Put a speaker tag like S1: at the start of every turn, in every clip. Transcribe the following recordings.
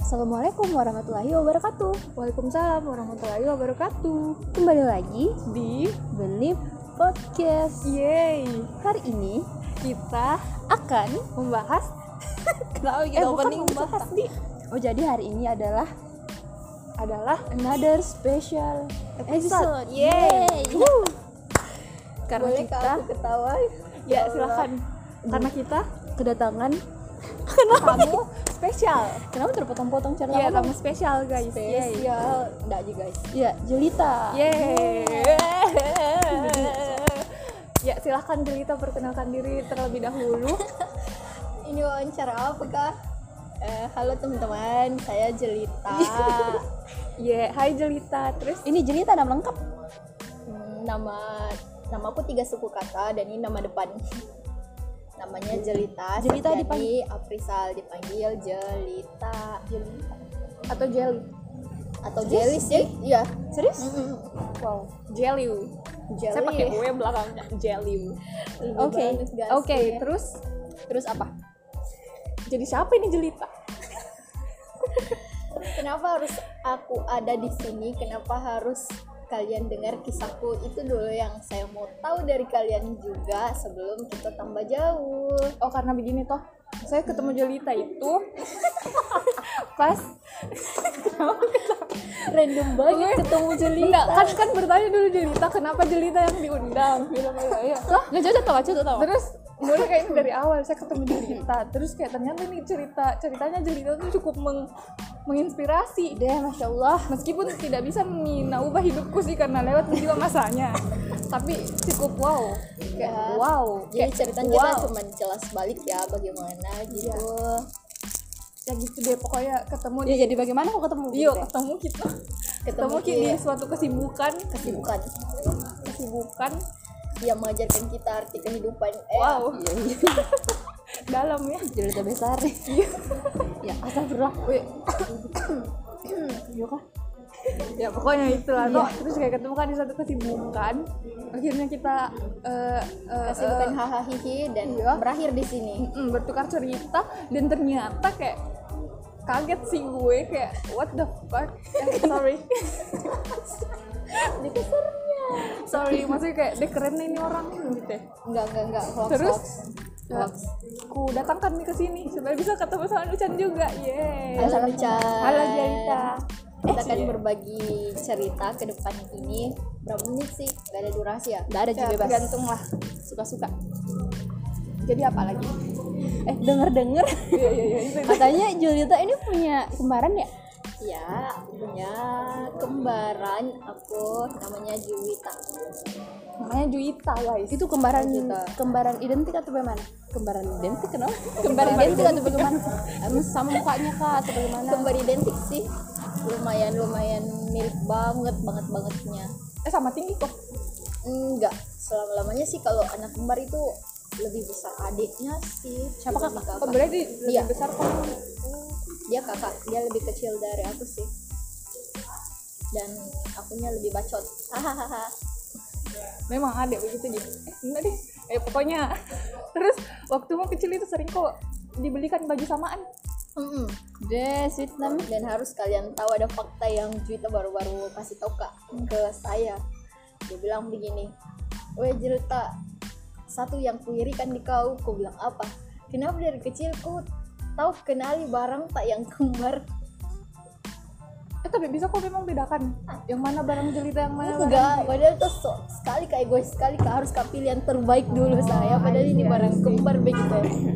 S1: Assalamualaikum warahmatullahi wabarakatuh.
S2: Waalaikumsalam warahmatullahi wabarakatuh.
S1: Kembali lagi
S2: Di
S1: Believe Podcast.
S2: Yay,
S1: Hari ini
S2: kita
S1: akan
S2: membahas kenapa kita
S1: Eh, bukan
S2: opening
S1: membahas,
S2: membahas
S1: Di. Oh, jadi hari ini adalah
S2: adalah
S1: another special episode.
S2: Episode. Yeay.
S1: Wuh. Karena
S2: Boleh
S1: kita
S2: ketawa. Ya,
S1: Iya.
S2: silakan. Karena kita
S1: kedatangan
S2: tamu spesial.
S1: kenapa terpotong-potong cara
S2: Iya,
S1: ngomong?
S2: tamu spesial guys. Iya, Yay.
S1: Enggak aja, guys. Ya, Jelita.
S2: Yeay. Ya, silahkan Delita perkenalkan diri terlebih dahulu.
S3: Ini wawancara apa kah? Eh, halo teman-teman, saya Jelita.
S2: Ye, hai Jelita. Terus
S1: Ini Jelita nama lengkap.
S3: Hmm, nama nama aku tiga suku kata dan ini nama depan. Namanya Jelita.
S1: Jelita
S3: Septiani
S1: dipanggil-
S3: Aprisal dipanggil Jelita. Jelita
S2: atau Jelly?
S3: atau Jelly sih? Iya.
S2: Serius?
S1: Wow.
S2: Jelly.
S3: Jelly.
S2: Hmm, Saya pakai W belakangnya Jelly.
S3: Lebih
S1: Oke.
S3: banget, guys.
S2: Oke,
S3: Iya.
S2: terus
S3: Terus apa?
S2: jadi siapa ini Jelita?
S3: Kenapa harus aku ada di sini? Kenapa harus kalian dengar kisahku itu dulu yang saya mau tahu dari kalian juga sebelum kita tambah jauh.
S2: Oh karena begini toh, saya ketemu Jelita itu pas
S3: Random banget ketemu Jelita.
S2: enggak kan kan bertanya dulu Jelita kenapa Jelita yang diundang bilang iya.
S1: Lah, nggak cocok tawa, cocok tawa.
S2: Terus mulai kayak dari awal saya ketemu Jelita, terus kayak ternyata nih cerita ceritanya Jelita tuh cukup meng- menginspirasi
S1: Deh, masya Allah.
S2: meskipun tidak bisa mengubah hidupku sih karena lewat juga masanya tapi cukup wow kayak
S3: Ya.
S2: wow
S3: Jadi
S2: Kayak
S3: cerita kita
S2: wow. Iya.
S3: cuman jelas balik ya bagaimana gitu.
S2: ya gitu deh pokoknya ketemu
S1: Ya jadi bagaimana kok ketemu?
S2: Yuk
S1: gitu ya?
S2: Iya, ketemu kita
S3: Ketemu
S2: ketemu kita ya? di suatu kesibukan
S3: Kesibukan
S2: kesibukan
S3: yang mengajarkan kita arti kehidupan. Eh,
S2: wow
S1: Iya,
S2: dalam ya
S1: Jelita Besari. ya, astagfirullah.
S2: Wih,
S1: Yuk kah?
S2: ya pokoknya itulah toh. terus kayak ketemu kan di suatu kesibukan akhirnya kita eh, eh,
S3: Kesibukan
S2: eh,
S3: hahaha hihi dan
S2: iya.
S3: berakhir di sini.
S2: mm, bertukar cerita dan ternyata kayak kaget sih gue kayak what the fuck Eh, sorry
S3: Jadi serunya.
S2: sorry maksudnya kayak deh keren nih ini orang gitu ya.
S3: Enggak enggak enggak hoax,
S2: terus
S3: hoax.
S2: eh, ku datangkan nih ke sini supaya bisa ketemu sama Nucan juga yeay
S3: Halo Lucan.
S2: Halo Jelita.
S3: Kita akan berbagi cerita ke depan ini berapa menit sih? Gak ada durasi ya?
S1: Gak ada juga bebas.
S2: Tergantung lah suka-suka. Jadi apa lagi?
S1: Eh, denger-denger
S2: Iya iya iya. itu.
S1: katanya Julita ini punya kembaran ya?
S3: Ya, punya kembaran aku namanya Juwita.
S2: Namanya Juita guys.
S1: Itu kembaran
S3: Julita.
S1: kembaran identik atau bagaimana? Kembaran identik kenapa?
S2: kembaran
S1: Kembaran identik atau bagaimana? Emang sama mukanya kah atau bagaimana?
S3: Kembar identik sih. Lumayan lumayan mirip banget banget bangetnya.
S2: Eh sama tinggi kok.
S3: Enggak, selama-lamanya sih kalau anak kembar itu lebih besar adiknya sih.
S1: Siapa
S3: Lebih
S1: kakak?
S2: Kok Kan berarti lebih
S3: Iya.
S2: besar kok.
S3: Dia kakak, dia lebih kecil dari aku sih. Dan akunya lebih bacot. Hahaha.
S2: Memang ada begitu dia. Eh, enggak deh. Eh pokoknya terus waktu mau kecil itu sering kok dibelikan baju samaan.
S3: Mm-mm.
S1: Deh, sweet nam.
S3: Dan harus kalian tahu ada fakta yang Juwita baru-baru kasih tahu kak ke saya. Dia bilang begini, Weh Jelita, satu yang kuirikan di kau, ku bilang apa? Kenapa dari kecil ku tahu kenali barang tak yang kembar?
S2: Eh tapi bisa kok memang bedakan yang mana barang jelita yang mana barang.
S3: Enggak, padahal itu sok sekali kak egois sekali kak harus kak pilih yang terbaik
S1: Oh,
S3: dulu
S1: iya
S3: saya. Padahal ini barang kembar begitu. ya.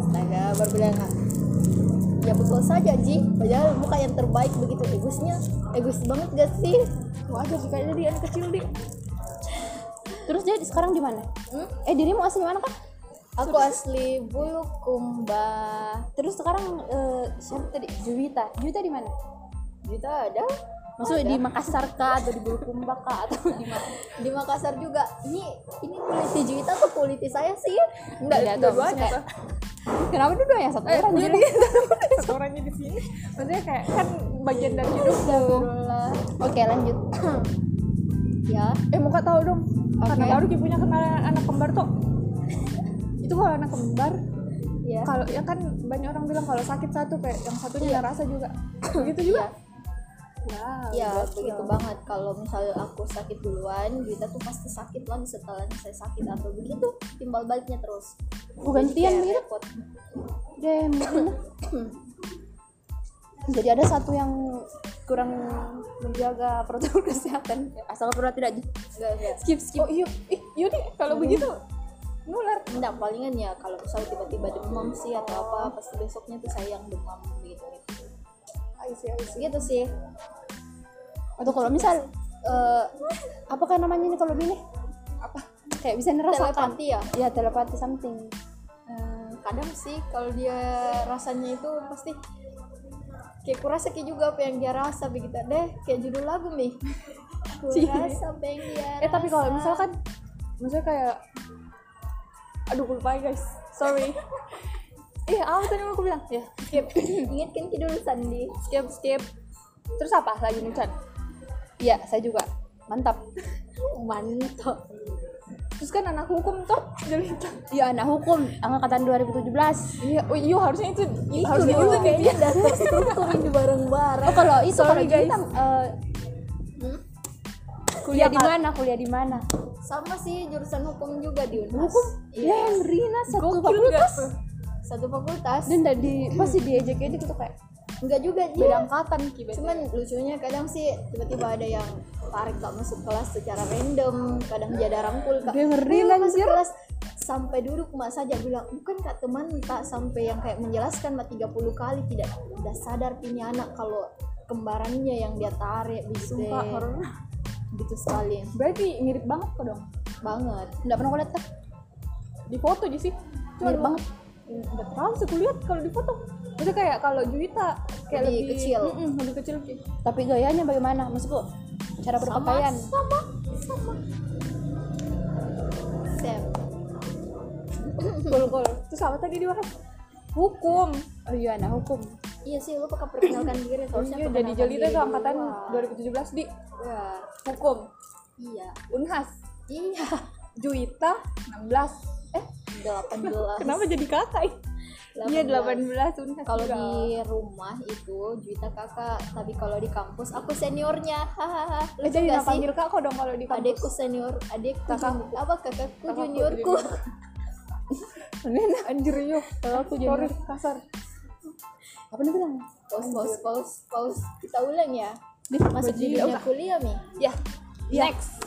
S3: Astaga, baru bilang Kak. Ya betul saja Ji, padahal muka yang terbaik begitu egoisnya, egois banget gak sih?
S2: Wajar sih kayaknya dia anak kecil di.
S1: Terus dia sekarang di mana?
S3: Hmm?
S1: Eh, dirimu asli mana kah?
S3: Aku asli Bulukumba.
S1: Terus sekarang eh, siapa tadi? Julita. Julita di mana?
S3: Juta ada
S1: Maksudnya di Makassar kah atau di Bulukumba kah atau di mana?
S3: di Makassar juga. Ini ini kuliti Juwita atau kuliti saya sih?
S1: Enggak,
S3: Enggak,
S1: Iya, tuh,
S3: dua-duanya.
S1: maksudnya- Kenapa dulu yang satu
S2: Eh,
S1: orang
S3: Iya,
S2: jadi
S1: Julita?
S2: satu orangnya di sini. Maksudnya kayak kan bagian dari hidup tuh.
S3: Astagfirullah.
S1: Oke, lanjut.
S3: Ya,
S2: Eh muka tahu dong. Karena
S1: Oke.
S2: baru Ki punya kenalan anak kembar tuh. Itu kalau anak kembar
S3: Iya.
S2: kalau ya kan banyak orang bilang kalau sakit satu kayak yang satunya ada rasa juga begitu juga wow,
S3: Iya,
S2: gokil.
S3: begitu banget. Kalau misalnya aku sakit duluan, Gita tuh pasti sakit lagi setelah saya sakit atau begitu timbal baliknya terus.
S1: Oh,
S3: Jadi
S1: gantian
S3: kayak
S1: gitu?
S3: repot.
S1: Dem. Jadi ada satu yang kurang menjaga protokol kesehatan. Asal pernah tidak di-
S3: Enggak, enggak.
S1: skip skip.
S2: oh iya ih iya deh kalau begitu nular
S3: Enggak, palingan ya kalau misalnya tiba-tiba demam sih atau apa, pasti besoknya tuh sayang demam begitu.
S2: I see, I see.
S3: Gitu sih.
S1: Atau kalau misal eh, apa kan namanya nih kalau gini?
S2: apa
S1: Kayak bisa ngerasakan.
S3: Telepati ya.
S1: Ya telepati something.
S3: Eh, kadang sih kalau dia rasanya itu pasti kayak kurasa kayak juga apa yang dia rasa begitu deh kayak judul lagu nih kurasa apa yang dia
S2: eh tapi kalau
S3: rasa.
S2: misalkan maksudnya kayak aduh aku lupa ya, guys sorry Iya, apa tadi mau aku bilang? Ya, skip,
S3: ingat kan kidul sandi
S2: skip, skip. Terus apa lagi nih, Chan?
S1: Iya, saya juga. Mantap.
S3: mantap
S2: Terus kan anak hukum tuh jadi
S1: Iya, anak hukum angkatan 2017.
S2: Iya, oh, iya harusnya itu,
S3: itu
S2: harusnya
S3: dulu
S2: itu nih.
S3: kayaknya udah terstruktur ini
S1: Oh,
S3: bareng-bareng
S1: gitu. kalau itu
S2: Sorry,
S1: kalau
S2: guys. Hmm?
S1: kita eh, kuliah
S2: Ya,
S1: di mana? Kuliah di mana?
S3: sama sih jurusan hukum juga di unhas
S1: Hukum.
S3: iya
S1: Ya, Rina satu
S2: Gokil nggak
S1: fakultas.
S2: tuh?
S3: satu fakultas
S1: Dan tadi pasti diejek-ejek itu kayak
S3: enggak juga dia
S2: Beda angkatan Ki, berarti.
S3: cuman lucunya kadang sih tiba-tiba ada yang tarik tak masuk kelas secara random kadang dia ada rangkul kak
S1: Dia ngeri,
S3: "Ayo, masuk
S1: anjir."
S3: kelas sampai duduk mak saja bilang bukan kak teman tak sampai yang kayak menjelaskan mak 30 kali tidak udah sadar punya anak kalau kembarannya yang dia tarik gitu
S2: Sumpah, horor.
S3: gitu sekali
S2: Berarti mirip banget kok dong.
S3: banget
S1: enggak pernah kulihat kan?
S2: Di foto aja sih. Cuma
S1: Mirip banget.
S2: Enggak tahu sih kulihat kalau di foto. Maksudnya kayak kalau Juwita kayak
S3: Lebih
S2: lebih,
S3: kecil.
S2: Mm-mm, lebih kecil Ki.
S1: Tapi gayanya bagaimana? Maksudku cara berpakaian.
S3: sama sama Sam
S2: Gol gol. Terus apa tadi dibahas? Hukum.
S1: Oh iya, anak hukum.
S3: iya sih lu pakai perkenalkan diri harusnya
S2: Iya, jadi
S3: perkenalkan
S2: Jolita
S3: diri
S2: itu angkatan
S3: duluan.
S2: 2017 di
S3: Iya.
S2: hukum.
S3: iya
S2: Unhas.
S3: iya
S2: Juwita 16. Eh,
S3: 18
S2: kenapa jadi kakak? ih? Iya, 18 Unhas.
S3: kalau
S2: juga.
S3: di rumah itu Juwita kakak tapi kalau di kampus aku seniornya hahaha
S2: Eh,
S3: lucu gak
S2: jadi nggak
S3: sih
S2: panggil kakak dong kalau di kampus.
S3: adekku senior adekku
S2: Kakakku.
S3: junior- apa kakakku
S2: Kakakku
S3: juniorku
S2: junior. Anjir yuk, kalau aku jadi kasar.
S1: Apa nih bilang?
S3: pause pause pause pause kita ulang ya
S1: Dih,
S3: masuk
S2: Bajingan.
S3: judulnya kuliah mi
S2: Ya. Next.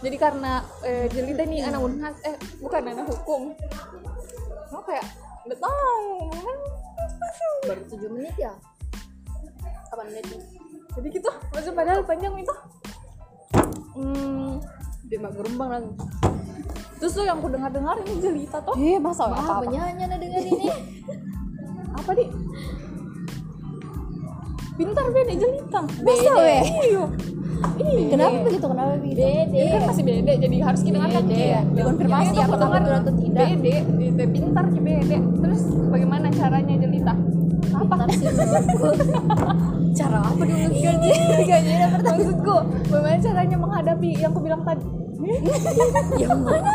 S2: Jadi karena eh, Jelita nih anak unhas, eh bukan anak hukum. Kamu kayak nggak tahu kan?
S3: baru 7 menit ya
S1: apa namanya?
S2: Jadi gitu, maksud padahal panjang itu. Hmm, dia mah gerombang lagi. Terus tuh yang aku dengar dengar ini Jelita toh
S1: Eh, masa
S2: Maaf,
S1: apa?
S3: ah penyanyi ada dengan ini
S2: apa di? Pintar beda Jelita.
S1: Masa, weh?
S2: Iya. Iya.
S1: Kenapa begitu? Kenapa begitu?
S2: Ini kan
S3: dede
S2: masih beda, jadi harus kita dengarkan
S1: Beda.
S2: Ki, ya.
S1: Dikonfirmasi
S2: Jadi itu
S1: apakah
S2: pertemuan
S1: betul atau tidak.
S2: Beda, beda pintar Ki, beda. Terus bagaimana caranya jelita? Apa?
S3: Ntar seniorku cara apa dulu gaji gaji dapat
S1: kan
S2: Maksudku, bagaimana caranya menghadapi yang aku bilang tadi?
S3: yang mana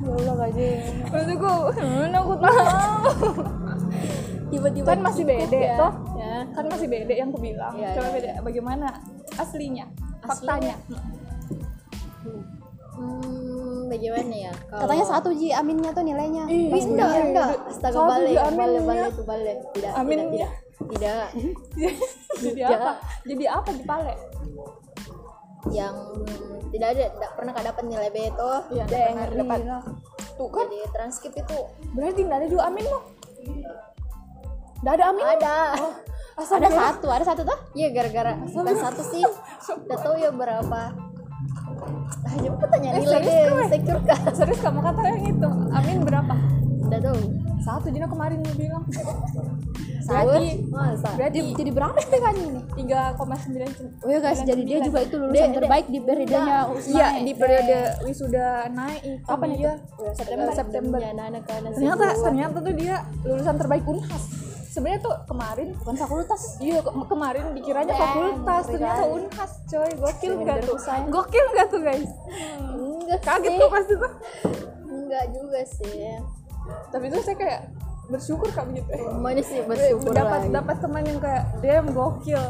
S1: Ya Allah, gaji.
S2: Maksudku, hmm, aku tahu.
S3: tiba-tiba
S2: Kan masih
S3: kikuk
S2: beda,
S3: ya.
S2: toh?
S3: ya
S2: Kan masih beda yang aku bilang.
S3: Iya,
S2: Coba
S3: iya.
S2: beda, bagaimana aslinya?
S3: Aslinya?
S2: Faktanya.
S3: Hmm, bagaimana ya? Kalau-
S1: Katanya satu Ji aminnya tuh nilainya.
S2: Oh. Ih,
S1: Pas
S3: Ih, enggak,
S1: kuliah.
S3: enggak. Astaga,
S2: Satu
S3: balik,
S2: juga
S3: balik,
S2: aminnya.
S3: balik, balik. Tidak,
S2: Aminnya.
S3: tidak, tidak. Tidak.
S2: Jadi
S3: Iya.
S2: apa? Jadi apa di pale?
S3: Yang tidak ada, tidak pernah kak dapat nilai B itu.
S2: Iya,
S3: Tidak
S2: nggak
S3: pernah
S2: pernah
S3: dapat.
S2: dapat. Tuh kan,
S3: Jadi transkrip itu
S2: berarti nggak ada juga amin loh. Nggak ada amin. Oh.
S3: ada.
S2: Asal
S1: Ada satu, ada satu tuh.
S3: Iya, gara-gara bukan satu sih. Tidak tahu ya berapa. Ah, jangan aku tanya
S2: Eh,
S3: nilai
S2: serius
S3: deh,
S2: kau, eh?
S3: insecure kah?
S2: Serius kamu kata yang itu? Amin berapa?
S3: Tidak tahu.
S2: Satu Jina kemarin dia bilang
S3: Terus,
S2: Satu
S3: masa?
S2: Berarti
S1: Jadi berapa sih kan ini?
S2: 3,9
S1: Oh ya guys, jadi dia juga itu lulusan
S3: Dek,
S1: terbaik di periodenya Usma.
S2: Iya di periode wisuda naik
S1: ya. Apa nih
S2: dia?
S3: Ya,
S2: September Iya, September
S3: September. Anak-anak
S2: Ternyata ternyata tuh dia lulusan terbaik Unhas Sebenarnya tuh kemarin
S1: bukan fakultas. Iya,
S2: Iya ke- kemarin dikiranya
S3: Eh,
S2: fakultas
S3: ngeri
S2: ternyata
S3: kali.
S2: Unhas coy gokil
S1: Bener
S2: nggak tuh
S1: pisan.
S2: gokil nggak tuh guys
S3: Enggak
S2: kaget
S3: sih.
S2: tuh pasti tuh
S3: Enggak juga sih.
S2: tapi tuh saya kayak bersyukur kak begitu eh.
S3: Mana sih bersyukur
S2: dapat
S3: lagi.
S2: dapat teman yang kayak dia yang gokil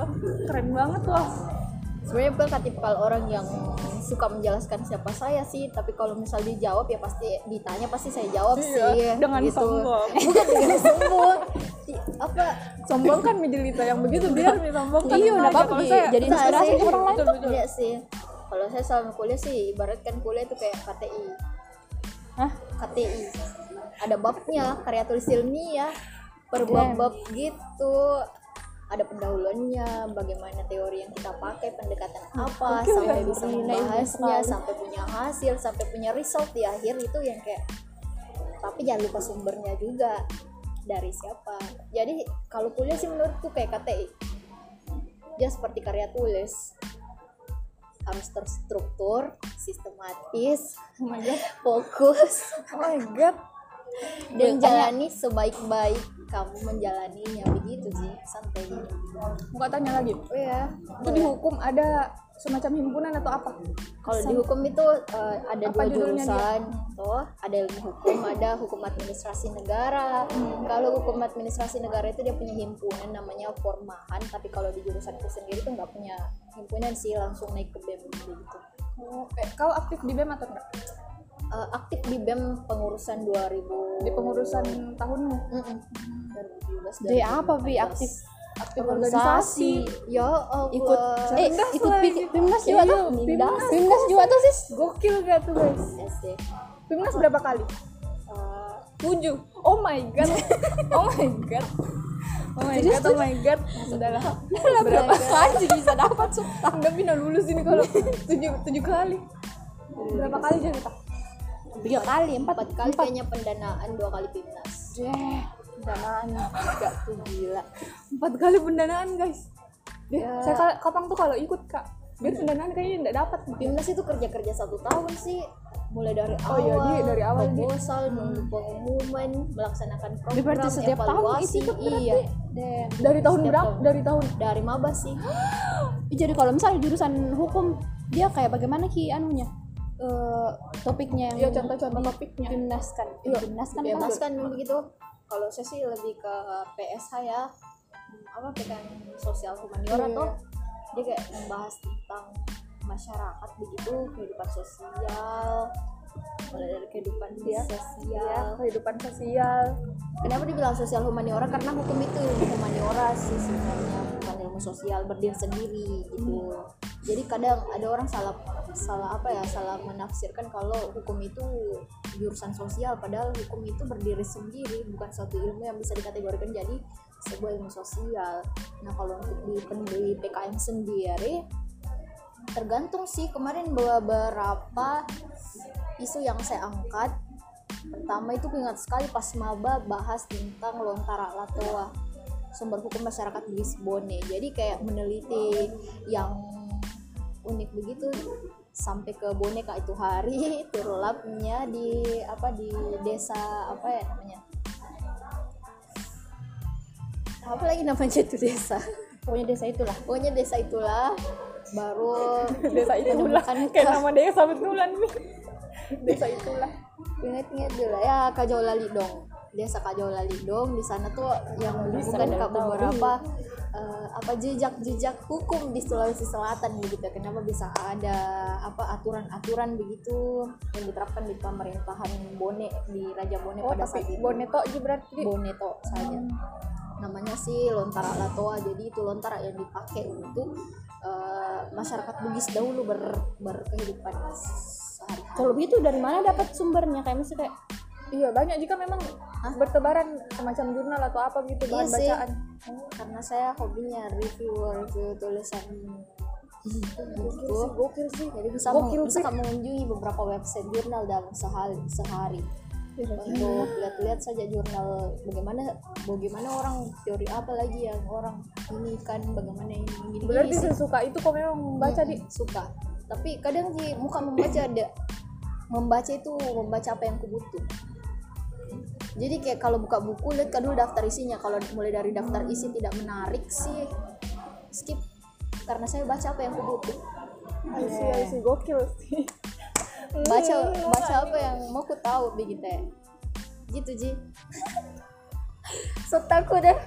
S2: keren banget loh
S3: Sebenarnya bukan tipikal orang yang suka menjelaskan siapa saya sih, tapi kalau misal dijawab ya pasti ditanya pasti saya jawab sih.
S2: Iya, dengan
S3: gitu.
S2: sombong
S3: Bukan dengan sombong. Di- apa
S2: sombong kan menjelita yang begitu dia lebih sombong kan
S1: Iya,
S2: udah
S1: nggak apa-apa,
S2: kalau
S1: Gi.
S2: saya
S1: Jadi
S3: Enggak
S1: inspirasi
S3: sih.
S1: orang lain
S3: Betul,
S2: tuh.
S3: Iya sih. Kalau saya selama kuliah sih ibaratkan kuliah itu kayak KTI.
S2: Hah?
S3: KTI. Ada babnya, karya tulis ilmiah, per bab-bab gitu. Ada pendahuluannya, bagaimana teori yang kita pakai, pendekatan apa,
S2: Mungkin
S3: sampai
S2: nggak
S3: bisa
S2: bernilai
S3: membahasnya,
S2: sekali.
S3: sampai punya hasil, sampai punya result di akhir itu yang kayak tapi jangan lupa sumbernya juga dari siapa jadi kalau kuliah sih menurutku kayak KTI dia seperti karya tulis harus terstruktur sistematis
S2: oh my god
S3: fokus
S2: oh my god
S3: dan jalani sebaik-baik kamu menjalaninya begitu sih santai gitu.
S2: nggak tanya lagi
S3: oh ya
S2: itu dihukum ada semacam himpunan atau apa
S3: kalau di hukum itu eh, ada dua
S2: Apa judulnya dia?
S3: jurusan toh ada ilmu hukum ada hukum administrasi negara
S2: Hmm.
S3: kalau hukum administrasi negara itu dia punya himpunan namanya formahan tapi kalau di jurusanku sendiri tuh nggak punya himpunan sih langsung naik ke bem gitu
S2: Oh, eh, kau aktif di BEM atau enggak
S3: Eh, aktif di bem pengurusan 2000
S2: di pengurusan tahunmu
S3: Mm-mm. 2017
S1: Jadi apa, Bi,
S3: 2018.
S1: aktif?
S2: aktif organisasi
S3: ya Allah
S1: ikut eh
S2: Cerdas
S1: ikut
S2: lagi.
S1: Pi- PIMNAS juga
S2: Iya,
S1: tuh
S2: Pimnas.
S1: PIMNAS juga tuh sis
S2: gokil gak tuh guys
S3: SD
S2: PIMNAS berapa kali
S3: Eh,
S2: tujuh oh my god oh my god oh my god oh my god udah lah Udah berapa kali bisa dapat sumpah nggak bisa lulus ini kalau tujuh tujuh kali berapa kali jadi tak
S1: tiga kali empat
S3: empat kali kayaknya pendanaan dua kali timnas
S1: deh
S3: pendanaan enggak tuh gila
S2: empat kali pendanaan guys Deh,
S3: Ya.
S2: saya kal- kapan tuh kalau ikut kak biar pendanaan kayaknya nggak dapat
S3: Timnas itu kerja-kerja satu tahun sih mulai dari awal,
S2: Oh, iya, dia dari awal, dia.
S3: proposal, nunggu pengumuman, melaksanakan program,
S1: berarti setiap tahun
S3: evaluasi,
S1: ikut
S3: iya,
S1: deh
S2: dari tahun
S3: Setiap
S2: berapa
S3: tahun.
S2: dari tahun
S3: dari maba sih,
S1: jadi kalau misalnya jurusan hukum dia kayak bagaimana ki anunya Eh, topiknya
S2: ya
S1: yang
S2: contoh-contoh topiknya
S1: gimnaskan
S2: Iya.
S1: gimnaskan kan
S3: bebaskan begitu. Kalau saya sih lebih ke PSH ya, apa PKN sosial humaniora
S2: Iya.
S3: tuh, dia kayak membahas tentang masyarakat begitu, kehidupan sosial, mulai dari kehidupan
S2: Iya. ya
S3: sosial.
S2: kehidupan sosial
S3: Kenapa dibilang sosial humaniora? Karena hukum itu ilmu humaniora sih sebenarnya bukan ilmu sosial berdiri sendiri gitu. Jadi kadang ada orang salah salah apa ya salah menafsirkan kalau hukum itu jurusan sosial padahal hukum itu berdiri sendiri bukan suatu ilmu yang bisa dikategorikan jadi sebuah ilmu sosial. Nah kalau untuk di, pen- di PKM sendiri tergantung sih kemarin beberapa isu yang saya angkat pertama itu ku ingat sekali pas maba bahas tentang lontara latoa sumber hukum masyarakat Lisbonnya jadi kayak meneliti yang unik begitu sampai ke boneka itu hari turulapnya di apa di desa apa ya namanya apa lagi namanya itu desa pokoknya desa itulah pokoknya desa itulah baru
S2: desa itulah
S3: menemukan
S2: kayak nama dia kebetulan nih desa itulah
S3: ingat ingat dulu ya Kajau Lali dong desa Kajau Lali dong di sana tuh yang menemukan
S2: nggak
S3: kak
S2: tahu.
S3: beberapa eh, apa jejak-jejak hukum di Sulawesi Selatan begitu kenapa bisa ada apa aturan-aturan begitu yang diterapkan di pemerintahan Bone di Raja Bone
S2: oh
S3: pada saat
S2: tapi
S3: itu
S2: boneto aja berarti
S3: Boneto saja namanya sih lontara latoa jadi itu lontara yang dipakai untuk eh, masyarakat Bugis dahulu ber berkehidupan sehari-hari
S1: kalau begitu dari mana dapat sumbernya kayak misalnya kayak
S2: Iya banyak jika memang bertebaran semacam jurnal atau apa gitu
S3: Iya
S2: bahan
S3: sih.
S2: bacaan.
S3: Oh, karena saya hobinya review review tulisan gitu
S2: Gokil sih.
S3: jadi bisa
S2: Gokil
S3: bisa
S2: sih.
S3: kamu mengunjungi beberapa website jurnal dalam sehari sehari
S2: Iya,
S3: untuk lihat-lihat saja jurnal bagaimana bagaimana orang teori apa lagi yang orang ini kan bagaimana ini gini, gini
S2: Berarti
S3: Iya sih.
S2: sesuka itu kok memang membaca di
S3: Mm, suka tapi kadang sih muka membaca ada membaca itu membaca apa yang kubutuh jadi kayak kalau buka buku lihat kan dulu daftar isinya kalau mulai dari daftar isi tidak menarik sih skip karena saya baca apa yang kubutuh
S2: isi
S3: Iya.
S2: isi gokil sih. Hmm.
S3: baca baca apa yang mau ku tahu begitu ya gitu ji sotaku deh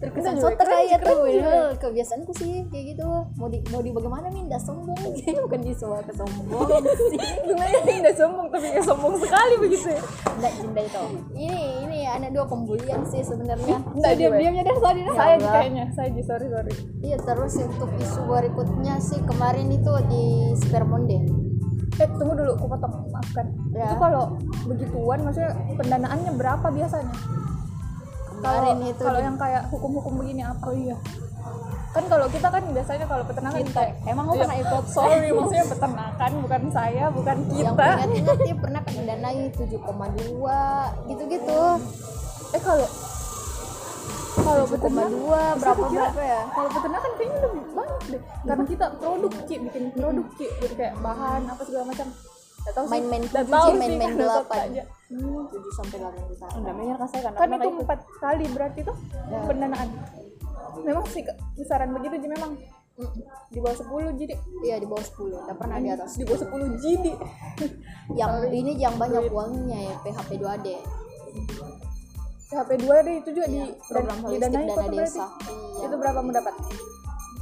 S3: terkesan
S2: Udah,
S3: so
S2: juga
S3: terkaya
S2: keren,
S3: tuh
S2: juga.
S3: padahal kebiasaanku sih kayak gitu mau di mau di bagaimana min dah sombong Kayaknya bukan di soal kesombongan sih
S2: Gimana ini udah sombong tapi ya sombong sekali begitu ya.
S3: nggak cinta itu ini ini anak dua pembulian sih sebenarnya
S2: Nggak,
S1: Saya
S2: gue.
S1: diam-diamnya deh tadi dah.
S2: Saya
S3: Ya Allah.
S2: kayaknya, saya Ji, sorry sorry.
S3: iya terus untuk isu berikutnya sih kemarin itu di Spermonde
S2: Eh tunggu dulu, aku potong maafkan.
S3: Ya.
S2: Itu kalau begituan maksudnya pendanaannya berapa biasanya? Kalau
S3: kemarin itu
S2: kalau
S3: di-
S2: yang kayak hukum-hukum begini apa? iya. Kan kalau kita kan biasanya kalau peternakan
S3: Kita.
S2: kayak
S3: Emang lu
S2: Iya.
S3: pernah ikut?
S2: Sorry, maksudnya peternakan bukan saya, bukan
S3: yang
S2: kita.
S3: ingat-ingat dia pernah kena danai 7,2 gitu-gitu
S2: Eh kalau kalau peternakan
S3: 7,2 berapa
S2: Aku kira-
S3: berapa ya
S2: kalau peternakan kayaknya lebih banyak deh
S3: Hmm.
S2: karena kita produk Ci, bikin produk Ci. Jadi kayak bahan apa segala macam Gak tahu sih. kan
S3: Main-main
S2: Gak
S3: tujuh,
S2: tahu
S3: Ci, main-main
S2: karena tetap
S3: delapan.
S2: aja.
S3: 7 sampai 8 juta
S1: Enggak bener kan saya kan
S2: kan
S1: pernah
S2: itu
S1: ikut.
S2: empat kali berarti tuh
S3: Ya.
S2: pendanaan memang sih Kak, kisaran begitu jadi memang di bawah 10 jadi
S3: iya di bawah 10 nggak pernah di atas
S2: di bawah 10 jadi
S3: yang ini yang banyak uangnya ya PHP 2D
S2: HP 2 deh itu juga di
S3: Iya, program
S2: dan-
S3: holistik
S2: didanai
S3: dana
S2: kok tuh berarti.
S3: desa. Iya.
S2: itu berapa mendapat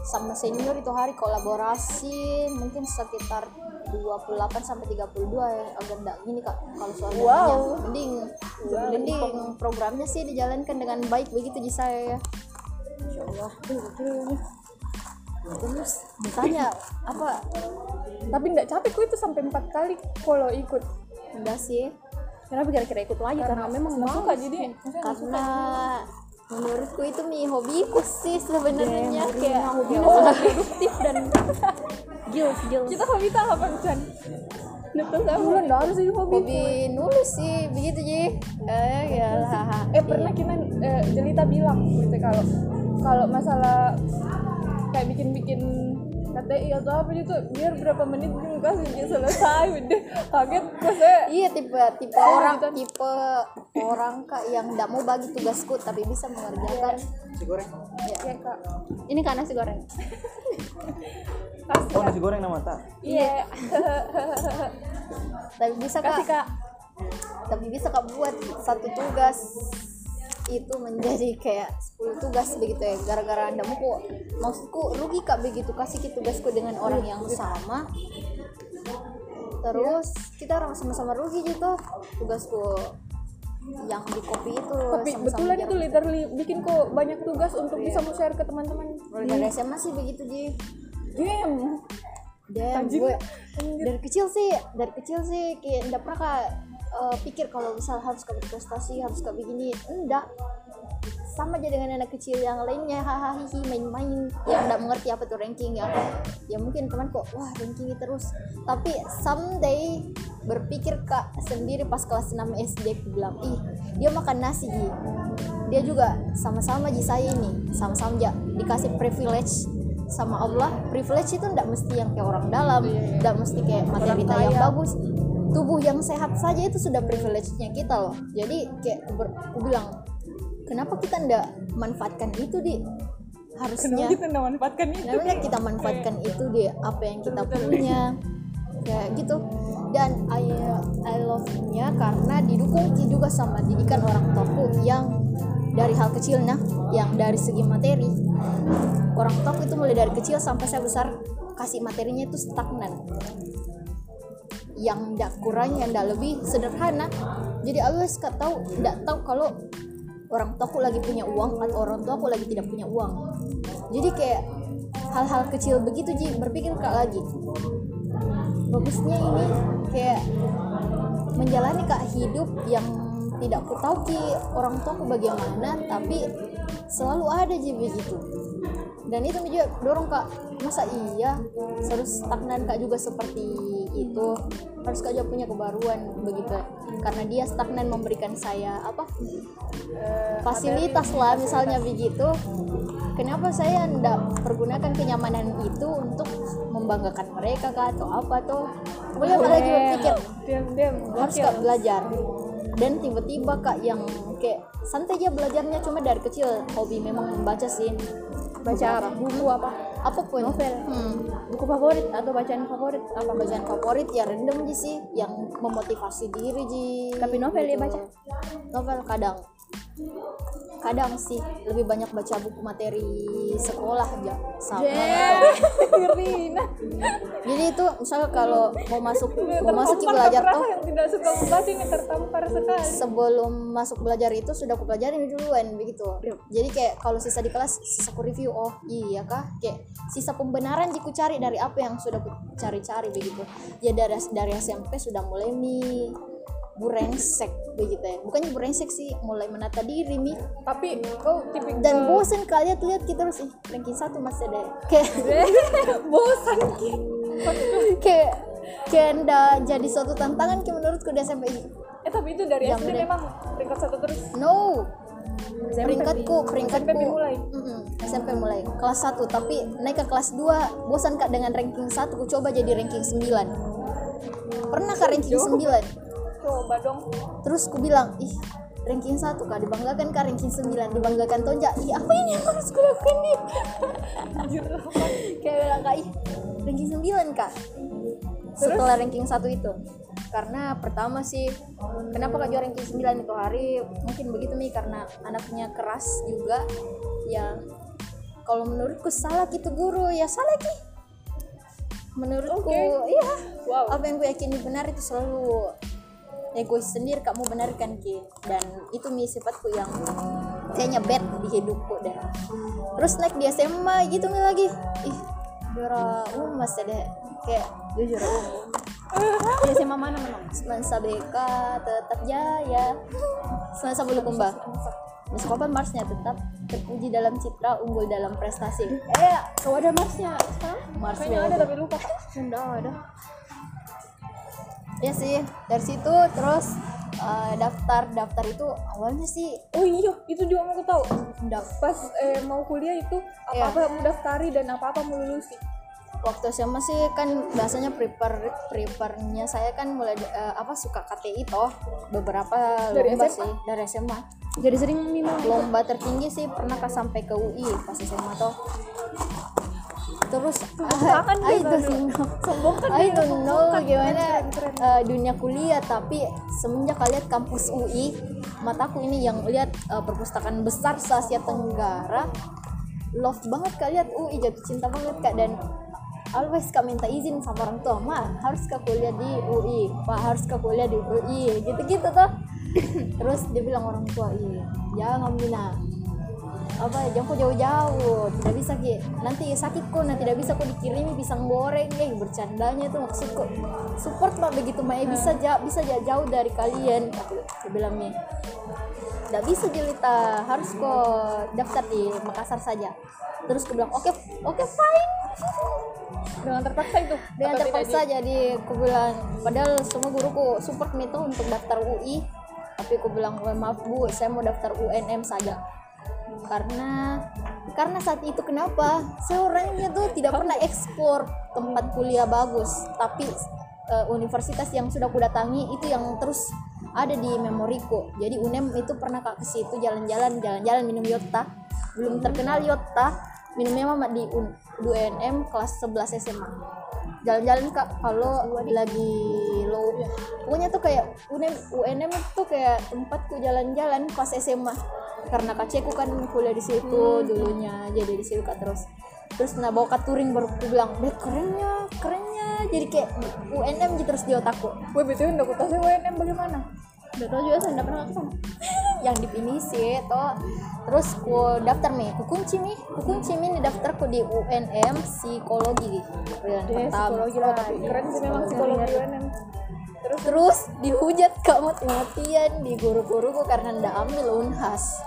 S3: sama senior itu hari kolaborasi mungkin sekitar 28 sampai 32 ya agak enggak gini kak kalau soal
S2: Wow.
S3: dananya. mending mending programnya sih dijalankan dengan baik begitu di saya ya Insya Allah. terus ditanya apa
S2: tapi nggak capek kok itu sampai empat kali kalau ikut
S3: Iya, enggak sih
S1: Kenapa gara-gara ikut lagi karena memang
S2: nggak suka jadi
S3: karena menurutku itu mi hobiku sih sebenarnya
S2: Iya.
S3: kayak
S1: produktif dan guilt guilt.
S2: kita hobi tak apa Chan betul nggak nggak harus jadi hobi
S3: Iya. hobi nulis sih begitu ji eh ya lah
S2: eh pernah kita eh, Jelita bilang gitu kalau kalau masalah kayak bikin-bikin KTI atau apa itu biar berapa menit juga kasih dia selesai udah kaget gue saya
S3: Iya tipe tipe orang tipe orang kak yang tidak mau bagi tugasku tapi bisa mengerjakan.
S4: nasi goreng
S3: Iya,
S2: ya kak
S1: Ini kan nasi goreng.
S2: kasih
S4: oh nasi goreng nama tak
S2: iya
S3: Tapi bisa
S2: kasih
S3: kak,
S2: kak
S3: tapi bisa kak buat satu tugas itu menjadi kayak 10 tugas begitu ya gara-gara anda mau kok maksudku rugi kak begitu kasih ki tugasku dengan orang yang sama terus kita orang sama-sama rugi gitu tugasku yang di kopi itu
S2: tapi
S3: sama-sama Iya.
S2: betulan
S3: jarak
S2: itu literally bikin kok banyak tugas untuk bisa mau share ke teman-teman
S3: Gara-gara SMA sih begitu Ji
S2: game
S3: Damn,
S2: Anjing.
S3: gue dari kecil sih, dari kecil sih kayak enggak pernah kak eh, pikir kalau misal harus kayak prestasi, harus kayak begini, enggak sama aja dengan anak kecil yang lainnya hahaha hihi, main-main yang enggak mengerti apa tuh ranking ya ya mungkin teman kok wah rankingnya terus tapi someday berpikir kak sendiri pas kelas 6 SD aku bilang ih dia makan nasi Ji dia juga sama-sama Ji saya ini sama-sama aja dikasih privilege sama Allah privilege itu enggak mesti yang kayak orang dalam enggak mesti kayak materi
S2: Iya, Orang
S3: yang
S2: kaya.
S3: bagus tubuh yang sehat saja itu sudah privilege-nya kita loh jadi kayak aku, ber- aku bilang kenapa kita ndak manfaatkan itu di
S2: kenapa
S3: harusnya
S2: Gitu, kita nggak manfaatkan itu
S3: namanya kita manfaatkan itu di apa yang kita punya kayak gitu dan I, I love-nya karena didukung juga sama didikan orang tuaku yang dari hal kecil nah yang dari segi materi orang tuaku itu mulai dari kecil sampai saya besar kasih materinya itu stagnan yang tidak kurang yang tidak lebih sederhana jadi always gak tahu tidak tahu kalau orang tuaku lagi punya uang atau orang tuaku lagi tidak punya uang jadi kayak hal-hal kecil begitu Ji berpikir kak lagi bagusnya ini kayak menjalani kak hidup yang tidak ku tahu ki orang tuaku bagaimana tapi selalu ada Ji begitu dan itu juga dorong kak masa iya harus stagnan kak juga seperti itu harus kak juga punya kebaruan begitu karena dia stagnan memberikan saya apa
S2: Eh,
S3: fasilitas lah misalnya begitu kenapa saya tidak pergunakan kenyamanan itu untuk membanggakan mereka kah atau apa tuh boleh malah juga pikir
S2: dem dem
S3: harus kak belajar dan tiba-tiba kak yang kayak santai aja belajarnya cuma dari kecil hobi memang membaca sih
S1: Baca buku apa?
S3: apapun
S1: Novel.
S3: Hmm,
S1: Buku favorit atau bacaan favorit apa?
S3: bacaan favorit ya rendem ji sih yang memotivasi diri ji
S1: Tapi novel dia baca?
S3: novel kadang kadang sih lebih banyak baca buku materi sekolah aja sama
S1: Iya.
S2: Rina
S3: jadi itu misalnya kalau mau masuk mau masuk
S2: tertampar
S3: ke belajar
S2: keras
S3: tuh
S2: yang tidak suka membaca ini tertampar sekali
S3: sebelum masuk belajar itu sudah aku pelajarin duluan begitu jadi kayak kalau sisa di kelas sisa aku review oh iya kah kayak sisa pembenaran sih ku cari dari apa yang sudah ku cari-cari begitu ya dari dari SMP sudah mulai mi burengsek begitu ya bukannya burengsek sih mulai menata diri mi
S2: tapi kau tipikal
S3: dan bosen kalian lihat kita harus ih, ranking satu masih ada kayak
S2: bosan
S3: kayak kayak nda jadi suatu tantangan kayak menurutku di SMP
S2: eh tapi itu dari
S3: Yang
S2: SD
S3: Iya, bener.
S2: memang peringkat satu terus
S3: no
S2: SMP.
S3: peringkatku peringkatku
S2: SMP mulai.
S3: Mm-mm, SMP mulai kelas 1 tapi naik ke kelas 2 bosan kak dengan ranking 1 ku coba jadi ranking 9 pernah kak ranking 9
S2: coba dong
S3: terus ku bilang ih ranking 1 kak dibanggakan kak ranking 9 dibanggakan tonja ih apa ini yang harus kulakukan nih
S2: anjir
S3: kayak bilang kak ih ranking 9 kak setelah ranking satu itu karena pertama sih kenapa kak juara ranking 9 itu hari mungkin begitu nih karena anaknya keras juga ya kalau menurutku salah gitu guru ya salah ki menurutku iya
S2: Wow.
S3: apa yang gue yakini benar itu selalu egois sendiri kamu benarkan ki dan itu mi sifatku yang kayaknya bad di hidupku dan terus naik di SMA gitu mi lagi ih juara umum masih ada kayak
S1: Dia juara umum. Dia SMA mana memang?
S3: semansa BK tetap jaya semansa bulu kumba Meskopan Marsnya tetap terpuji dalam citra, unggul dalam prestasi. Eh,
S1: Kau ada Marsnya sekarang?
S3: Mars
S2: kayaknya ada tapi lupa
S1: Enggak ada.
S3: Ya sih, dari situ terus eh, daftar daftar itu awalnya sih
S2: oh iya itu juga mau aku tahu
S3: enggak
S2: pas eh, mau kuliah itu
S3: Iya.
S2: apa apa mau daftari dan apa apa mau lulusi
S3: waktu SMA sih kan biasanya prepare prepare-nya saya kan mulai eh, apa suka KTI toh beberapa
S2: Dari
S3: lomba
S2: SMA?
S3: sih dari SMA
S1: Jadi sering minum.
S3: lomba tertinggi sih pernah ke sampai ke UI pas SMA toh terus ah,
S2: tangan
S3: I
S2: dia
S3: don't
S2: baru.
S3: know
S2: sombong
S3: I
S2: kan dia,
S3: don't
S2: sombong
S3: know
S2: kan.
S3: Ah, gimana
S2: Keren, keren.
S3: eh, dunia kuliah tapi semenjak kalian kampus UI mataku ini yang lihat eh, perpustakaan besar se Asia Tenggara love banget kalian UI jatuh cinta banget kak dan always kak minta izin sama orang tua ma harus kak kuliah di UI pak harus kak kuliah di UI gitu-gitu tuh terus dia bilang orang tua iya jangan Mina apa jangan kau jauh-jauh tidak bisa ki nanti sakit kok nanti tidak bisa kok dikirimi pisang goreng eh bercandanya itu maksudku support lah begitu Mae bisa ja bisa ja- jauh dari kalian aku aku bilang nih tidak bisa jelita harus kok daftar di Makassar saja terus aku bilang oke oke fine
S2: dengan terpaksa itu
S3: dengan
S2: Atau tidak
S3: terpaksa jadi aku bilang padahal semua guruku support itu untuk daftar UI tapi aku bilang "Wah, maaf bu saya mau daftar UNM saja karena karena saat itu kenapa saya orangnya tuh tidak pernah eksplor tempat kuliah bagus tapi eh, universitas yang sudah kudatangi itu yang terus ada di memoriku jadi UNM itu pernah kak ke situ jalan-jalan jalan-jalan minum yotta belum terkenal yotta minumnya mama di UN, di UNM kelas 11 SMA jalan-jalan kak kalau lagi low pokoknya tuh kayak E UNM UNM tuh kayak tempatku jalan-jalan pas SMA karena kak Ceku kan kuliah di situ
S2: Hmm.
S3: dulunya jadi di situ kak terus terus nah bawa kak touring baru aku bilang deh kerennya kerennya jadi kayak UNM gitu terus di otakku
S2: jadi. Weh, BTW enggak aku tahu sih WNM bagaimana?
S1: Enggak tahu juga saya enggak pernah ke sana.
S3: yang di pinisi itu terus ku daftar nih ku kunci nih ku kunci nih di daftarku di UNM psikologi pilihan
S2: Deh,
S3: pertama
S2: psikologi lah, tapi keren sih memang psikologi
S3: Iya.
S2: UNM. Terus
S3: terus dihujat kamu mati-matian di guru-guruku karena ndak ambil unhas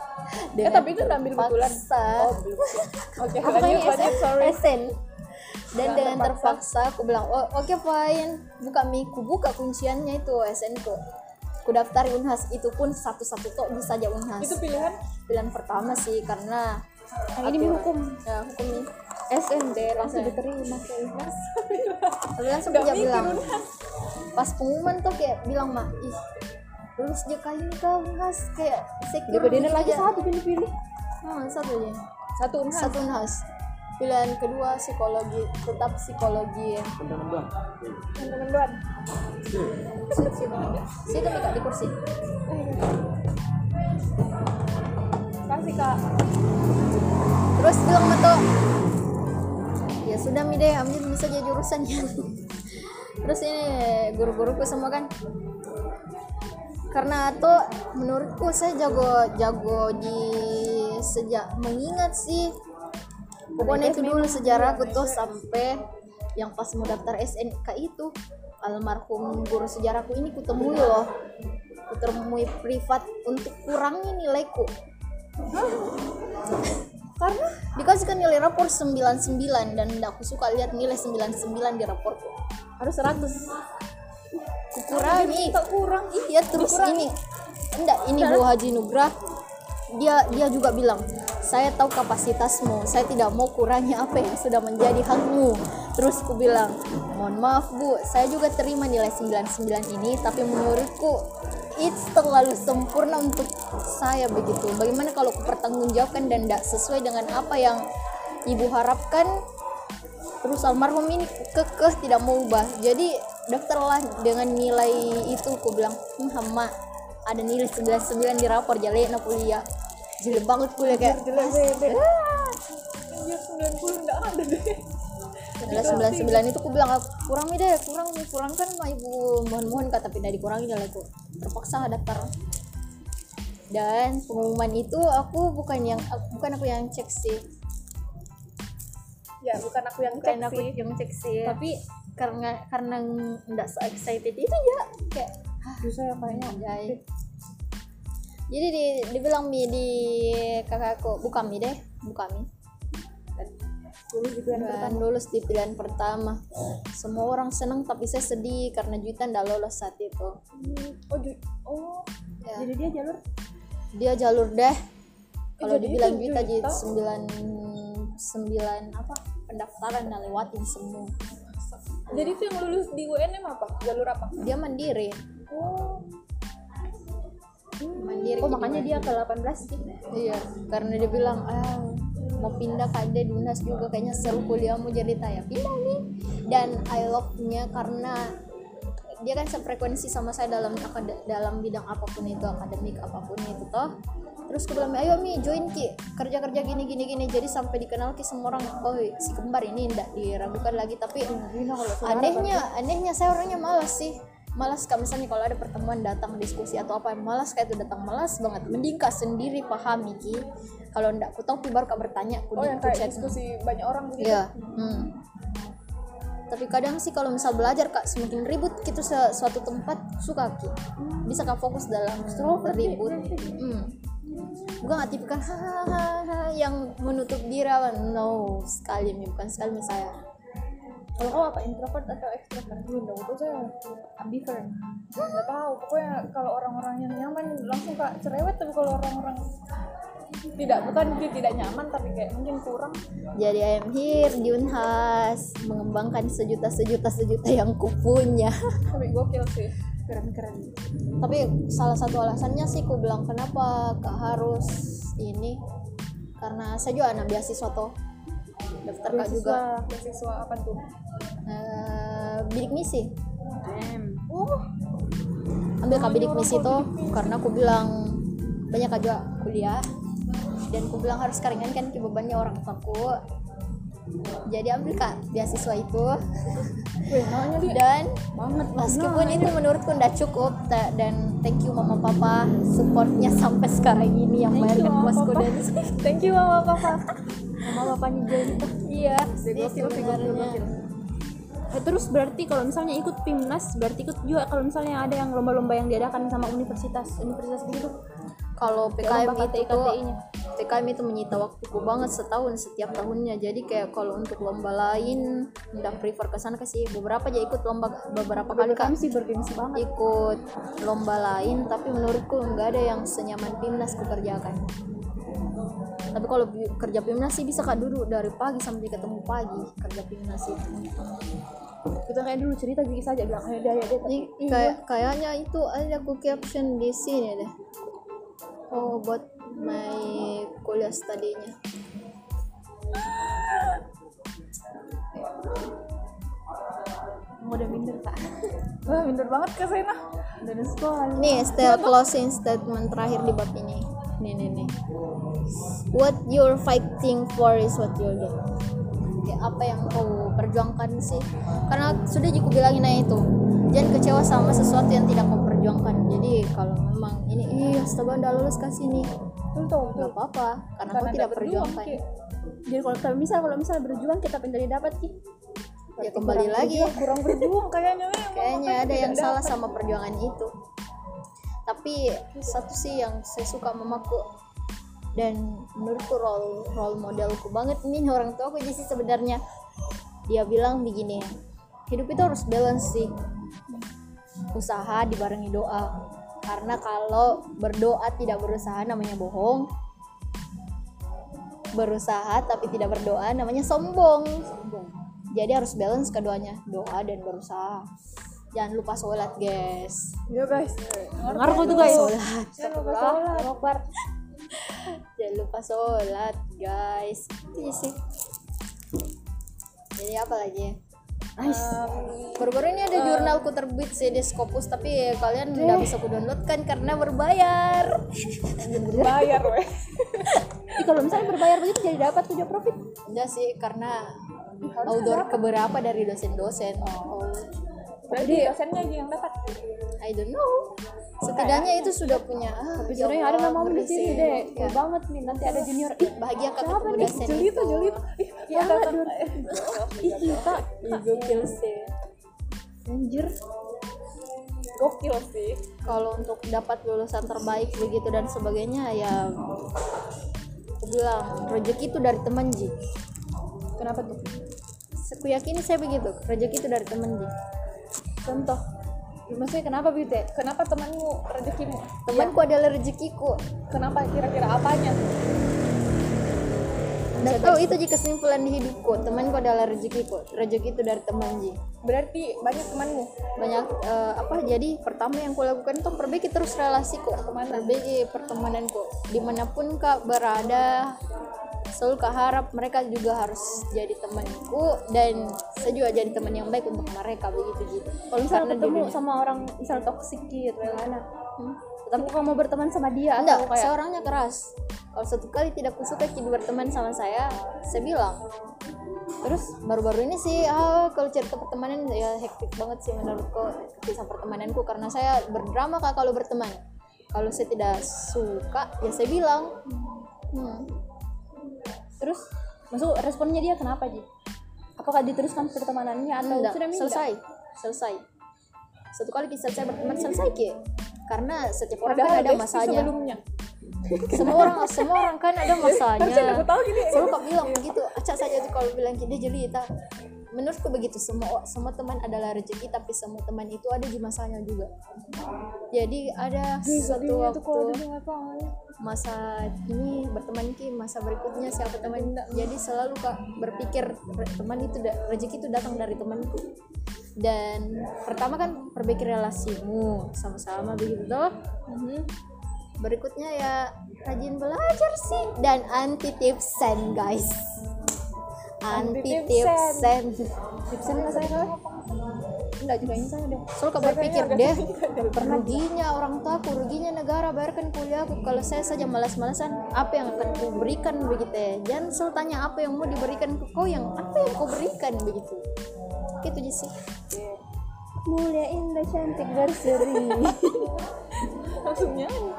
S2: Eh, tapi itu nggak ambil kebetulan.
S3: paksa
S2: oke,
S3: Apa
S2: lanjut
S3: ini,
S2: lanjut
S3: SN?
S2: sorry.
S3: SN. dan dengan terpaksa aku bilang "Oh, oke fine buka mi ku buka kunciannya itu SN ku ku daftar unhas itu pun satu-satu tok bisa aja unhas
S2: Itu Nah, pilihan
S3: pilihan pertama sih karena
S1: Yang ini Mi, hukum.
S3: ya, hukum nih SND langsung
S1: Iya.
S3: diterima Tapi langsung
S2: Nggak
S3: dia
S2: mikir,
S3: bilang pas pengumuman tuh kayak bilang mah ih lulus dia kali ini kau mas kayak secure
S1: Dibedain
S3: gitu
S1: lagi
S3: ya."
S1: satu pilih-pilih.
S3: Hmm, satu aja
S2: satu unhan.
S3: satu nas pilihan kedua psikologi tetap psikologi
S2: Teman-teman doan.
S3: situ nih kak di kursi
S2: Kasih kak
S3: terus bilang sama tuh ya sudah Mide ambil bisa jadi jurusannya terus ini guru-guruku semua kan karena tuh menurutku saya jago jago di sejak mengingat sih pokoknya itu dulu sejarahku tuh sampai yang pas mau daftar SNK itu almarhum guru sejarahku ini kutemui loh kutemui privat untuk kurangi nilaiku
S2: karena
S3: dikasihkan nilai rapor 99 dan aku suka lihat nilai 99 di raporku
S2: harus 100
S3: kukurangi
S2: kita kurang ih
S3: iya terus ini enggak ini Bu Haji Nugrah dia dia juga bilang saya tahu kapasitasmu saya tidak mau kurangi apa yang sudah menjadi hakmu terus ku bilang mohon maaf bu saya juga terima nilai 99 ini tapi menurutku it's terlalu sempurna untuk saya begitu bagaimana kalau ku pertanggungjawabkan dan tidak sesuai dengan apa yang ibu harapkan terus almarhum ini kekeh tidak mau ubah jadi daftarlah dengan nilai itu aku bilang hmm hama ada nilai 99 di rapor jelek na kuliah jelek banget kuliah kayak "Ah,
S2: jelek bebek anjir 90 enggak ada deh
S3: nilai 99 itu aku bilang "Ah, kurang nih deh kurang nih kurang kan ma ibu mohon mohon kata pindah dikurangi nilaiku terpaksa daftar dan pengumuman itu aku bukan yang aku- bukan aku yang cek sih
S2: ya bukan aku yang cek
S3: bukan aku
S2: sih
S3: yang cek sih tapi karena karena nggak so excited itu ya kayak
S2: bisa ya kayaknya
S3: Anjay. Jadi di, dibilang mi di kakakku, bukan mi deh, bukan mi.
S2: dulu juga yang
S3: Dan lulus di pilihan pertama. Semua orang seneng tapi saya sedih karena Juita ndak lolos saat itu.
S2: Hmm, oh ju- oh
S3: Ya.
S2: jadi dia jalur
S3: Dia jalur deh. Kalau
S2: Eh, jadi
S3: dibilang
S2: itu
S3: Juita jadi
S2: Juwita?
S3: 9 sembilan apa pendaftaran dan lewatin semua.
S2: jadi itu yang lulus di UNM apa jalur apa
S3: Dia mandiri,
S2: oh
S3: mandiri.
S2: oh
S3: gitu.
S2: makanya dia ke 18 sih
S3: Iya, karena dia bilang ah mau pindah ke Ade di Unas juga kayaknya seru kuliahmu jadi taya pindah nih dan I love-nya karena dia kan sefrekuensi sama saya dalam akad- dalam bidang apapun itu akademik apapun itu toh terus aku bilang ayo mi join ki kerja kerja gini gini gini jadi sampai dikenal ki semua orang oh si kembar ini ndak diragukan lagi tapi anehnya anehnya saya orangnya malas sih malas kayak misalnya kalau ada pertemuan datang diskusi atau apa malas kayak itu datang malas banget mending kak sendiri pahami ki kalau ndak ku tahu ki baru kak bertanya ku
S2: oh
S3: di-
S2: yang
S3: ku
S2: kayak
S3: chat.
S2: diskusi banyak orang gitu
S3: Iya. Hmm. Tapi kadang sih kalau misal belajar kak semakin ribut gitu se- suatu tempat suka ki bisa kak fokus dalam ribut.
S2: iya
S3: Hmm. Gue nggak tipikal hahaha yang menutup diri awal. no sekali Mi. bukan sekali Mi, saya.
S2: kalau kau apa introvert atau extrovert belum dong itu saya ambivert nggak tahu pokoknya kalau orang-orang yang nyaman langsung kak cerewet tapi kalau orang-orang tidak bukan dia tidak nyaman tapi kayak mungkin kurang
S3: Jadi I am here di Unhas mengembangkan sejuta sejuta sejuta yang kupunya.
S2: tapi gokil sih keren-keren
S3: tapi salah satu alasannya sih aku bilang kenapa kak harus ini karena saya juga anak beasiswa toh daftar kak juga
S2: beasiswa beasiswa apa tuh
S3: Eh, bidik misi Uh,
S2: oh
S3: ambil kak bidik misi toh karena aku bilang banyak kak juga kuliah dan aku bilang harus keringan kan ki bebannya orang tuaku jadi ambil kak beasiswa itu
S2: weh namanya dia
S3: dan
S2: banget
S3: meskipun itu menurutku nggak cukup ta- dan thank you mama papa supportnya sampai sekarang ini yang
S2: thank you
S3: bayarkan
S2: mama
S3: puasku
S2: papa
S3: dan
S2: thank you mama papa mama papanya Joy
S3: iya
S2: Dia
S3: sih
S2: gokil, dia gokil,
S3: sebenarnya.
S2: gokil.
S1: Eh, terus berarti kalau misalnya ikut PIMNAS berarti ikut juga kalau misalnya ada yang lomba-lomba yang diadakan sama universitas universitas gitu
S3: kalau PKM
S1: Lomba
S3: itu tuh
S1: KTI-nya.
S3: PKM itu menyita waktuku banget setahun setiap tahunnya jadi kayak kalau untuk lomba lain udah prefer ke sana ke sih beberapa aja ikut lomba beberapa kali kan
S2: kami sih bergengsi banget
S3: ikut lomba lain tapi menurutku nggak ada yang senyaman timnas kukerjakan tapi kalau bi- kerja timnas sih bisa kak duduk dari pagi sampai ketemu pagi kerja timnas itu
S2: kita kayak dulu cerita jadi saja bilang ayo deh ayo deh
S3: Ini kayak kayaknya itu ada aku caption di sini deh. Oh, buat my kuliah studinya.
S1: udah minder kak
S2: wah bener banget ke sana
S1: dari sekolah
S3: ya, Nih, still closing statement terakhir di bab ini. Nih, nih, nih. what you're fighting for is what you'll get Kayak apa yang kau perjuangkan sih karena sudah aku bilangin aja itu jangan kecewa sama sesuatu yang tidak kau perjuangkan jadi kalau memang ini ih astaga udah lulus kasih nih
S2: Untung
S3: nggak apa-apa karena kau tidak perjuangkan Ya,
S1: jadi kalau kalau misal kalau misal berjuang kita pindah dapat ki
S3: ya kembali lagi
S2: kurang berjuang kayaknya ya, Mama.
S3: kayaknya
S2: Makanya
S3: ada
S2: tidak
S3: yang salah sama perjuangan itu tapi satu sih yang saya suka mamaku dan menurutku role role modelku banget ini orang tuaku jadi sih sebenarnya dia bilang begini hidup itu harus balance sih usaha dibarengi doa karena kalau berdoa tidak berusaha namanya bohong berusaha tapi tidak berdoa namanya sombong jadi harus balance keduanya doa dan berusaha jangan lupa sholat guys
S2: Ya guys.
S1: dengar kok itu guys
S3: sholat
S2: Jangan lupa sholat.
S3: jangan lupa sholat guys Iya sih jadi apa lagi ya? baru-baru ini ada jurnalku terbit sih di Scopus tapi kalian udah bisa ku downloadkan karena berbayar
S2: Bayar weh.
S1: Tapi Eh, kalau misalnya berbayar begitu jadi dapat punya profit
S3: enggak sih karena outdoor keberapa dari dosen-dosen oh.
S2: Berarti dosennya aja yang dapat.
S3: I don't know setidaknya itu sudah punya ah, ya
S1: sebenarnya ada
S3: Allah,
S1: namamu di sini
S3: berisi.
S1: deh
S3: Ya.
S1: Cool banget nih nanti ada junior ih
S3: bahagia kakak
S2: Apa
S3: ketemu
S2: nih?
S3: dosen
S2: Jelita,
S3: itu.
S2: jelita. Ih,
S3: Iya,
S1: ya
S2: ada-
S1: nggak dur
S3: Eh,
S1: ih kita
S3: Ih, gokil sih
S1: anjir
S2: Gokil sih.
S3: kalau untuk dapat lulusan terbaik begitu dan sebagainya ya aku bilang rezeki itu dari teman ji
S2: Kenapa tuh?
S3: aku yakin saya begitu rezeki itu dari teman ji
S1: contoh maksudnya kenapa begitu ya
S2: Kenapa temanmu rezekimu?
S3: temanku adalah rezekiku
S2: Kenapa kira-kira apanya?
S3: dan tahu itu ji kesimpulan di hidupku temanku adalah rezekiku rezeki itu dari teman ji
S2: Berarti banyak temanmu.
S3: banyak eh, apa jadi pertama yang aku lakukan itu perbaiki terus relasiku perbaiki pertemananku dimanapun kak berada selalu kak harap mereka juga harus jadi temanku dan saya juga jadi teman yang baik untuk mereka begitu gitu
S1: kalau misalnya
S3: Karena
S1: ketemu
S3: dirinya-
S1: sama orang misal toksik gitu ya mana
S3: Hmm?
S1: tapi kamu mau berteman sama dia
S3: enggak
S1: atau kayak
S3: saya orangnya keras kalau satu kali tidak kusuka jadi berteman sama saya saya bilang terus baru-baru ini sih ah, kalau cerita pertemanan ya hektik banget sih menurutku kisah pertemananku karena saya berdrama kak kalau berteman kalau saya tidak suka ya saya bilang hmm,
S1: terus masuk responnya dia kenapa Ji? apakah diteruskan pertemanannya atau
S3: enggak,
S1: sudah minta
S3: selesai selesai satu kali kisah saya berteman selesai ki karena setiap orang kan
S2: Padahal
S3: ada
S2: Desti
S3: masanya
S2: sebelumnya.
S3: semua orang semua orang kan ada
S2: Harusnya
S3: masanya
S2: aku tahu gini.
S3: selalu kau bilang begitu acak saja tuh kalau bilang gini jelita menurutku begitu semua semua teman adalah rezeki tapi semua teman itu ada di masanya juga jadi ada satu
S2: Sedihnya tuh kalau
S3: waktu
S2: dulu ngapain.
S3: masa ini berteman ki masa berikutnya siapa teman jadi selalu kak berpikir re- teman itu da- rezeki itu datang dari temanku dan pertama kan perbaiki relasimu sama-sama begitu toh Mhm. berikutnya ya rajin belajar sih dan anti tipsen guys anti tipsen tipsen saya
S1: enggak juga ini saya deh
S3: soal kau berpikir deh ruginya orang tuaku ruginya negara bayarkan kuliahku kalau saya saja malas-malasan apa yang akan ku berikan begitu ya jangan selalu tanya apa yang mau diberikan ke kau yang apa yang kau berikan begitu Gitu, itu aja sih
S1: mulia indah cantik berseri
S2: Langsung nyanyi.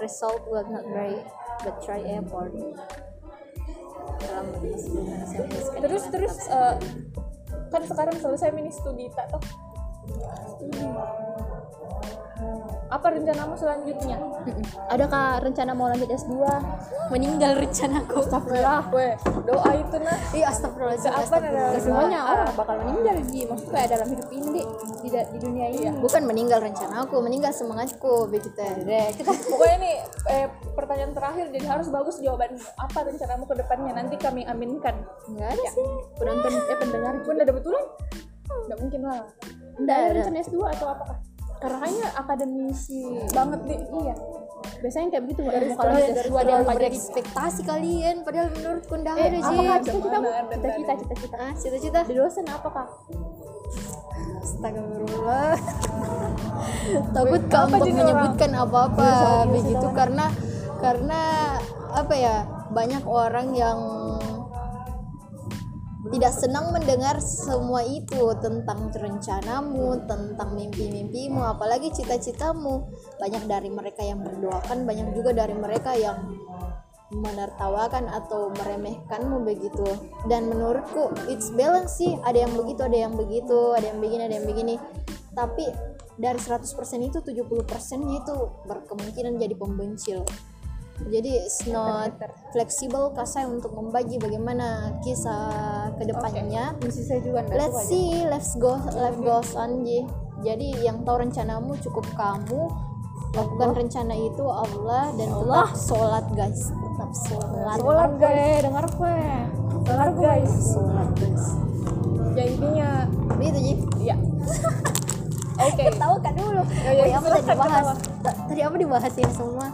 S3: result was not great but try eh, effort dalam bahasa Inggris kan.
S2: Terus terus eh, kan sekarang selesai mini studi tak toh? Apa rencanamu selanjutnya?
S1: ada kak rencana mau lanjut S2
S3: meninggal rencanaku
S2: Wah, weh, doa itu nah.
S3: iya astagfirullahaladzim
S2: Apa ada
S3: astagfirullahaladzim.
S1: semuanya orang bakal meninggal Ji maksudnya kayak dalam hidup ini Dek. di, da- di dunia ini
S3: bukan meninggal rencanaku meninggal semangatku begitu ya kita
S2: Pokoknya nih eh, pertanyaan terakhir jadi harus bagus jawaban apa rencanamu ke depannya nanti kami aminkan.
S3: nggak ada sih
S1: penonton eh pendengar
S2: Pun ada betulan? Nggak mungkin lah.
S1: enggak ada rencana S2 atau apakah karena kayaknya akademisi
S2: Banget nih. Iya.
S1: biasanya kayak begitu nggak ada
S3: Terus
S1: kalau
S3: terus
S1: S2 ada
S3: terus
S1: yang
S3: terlalu
S1: pajak
S3: berekspektasi kalian padahal menurut kundang
S1: eh
S3: ada sih
S1: apakah cita-cita
S2: Ada, ada,
S1: cita-cita cita-cita
S3: ah cita-cita
S1: di dosen apakah
S3: astagfirullah takut kamu
S2: jadi orang?
S3: menyebutkan apa-apa begitu karena karena apa ya banyak orang yang tidak senang mendengar semua itu tentang rencanamu, tentang mimpi-mimpimu, apalagi cita-citamu. Banyak dari mereka yang mendoakan, banyak juga dari mereka yang menertawakan atau meremehkanmu begitu. Dan menurutku it's balance sih, ada yang begitu, ada yang begitu, ada yang begini, ada yang begini. Tapi dari 100% itu 70%-nya itu berkemungkinan jadi pembencil jadi it's not flexible kasai untuk membagi bagaimana kisah kedepannya
S2: Misi saya juga enggak
S3: let's see let's go let's go on Ji. jadi yang tahu rencanamu cukup kamu lakukan rencana itu Allah dan tetap sholat guys tetap sholat
S2: Sholat gue, dengar gue Dengar guys
S3: sholat guys
S2: Ya intinya
S3: begitu Ji
S2: Ya Oke
S3: tahu kan dulu
S2: Ya,
S3: Woi,
S2: ya,
S3: apa tadi
S2: silakan,
S3: dibahas
S2: ketawa.
S3: Ta- tadi apa dibahas ya semua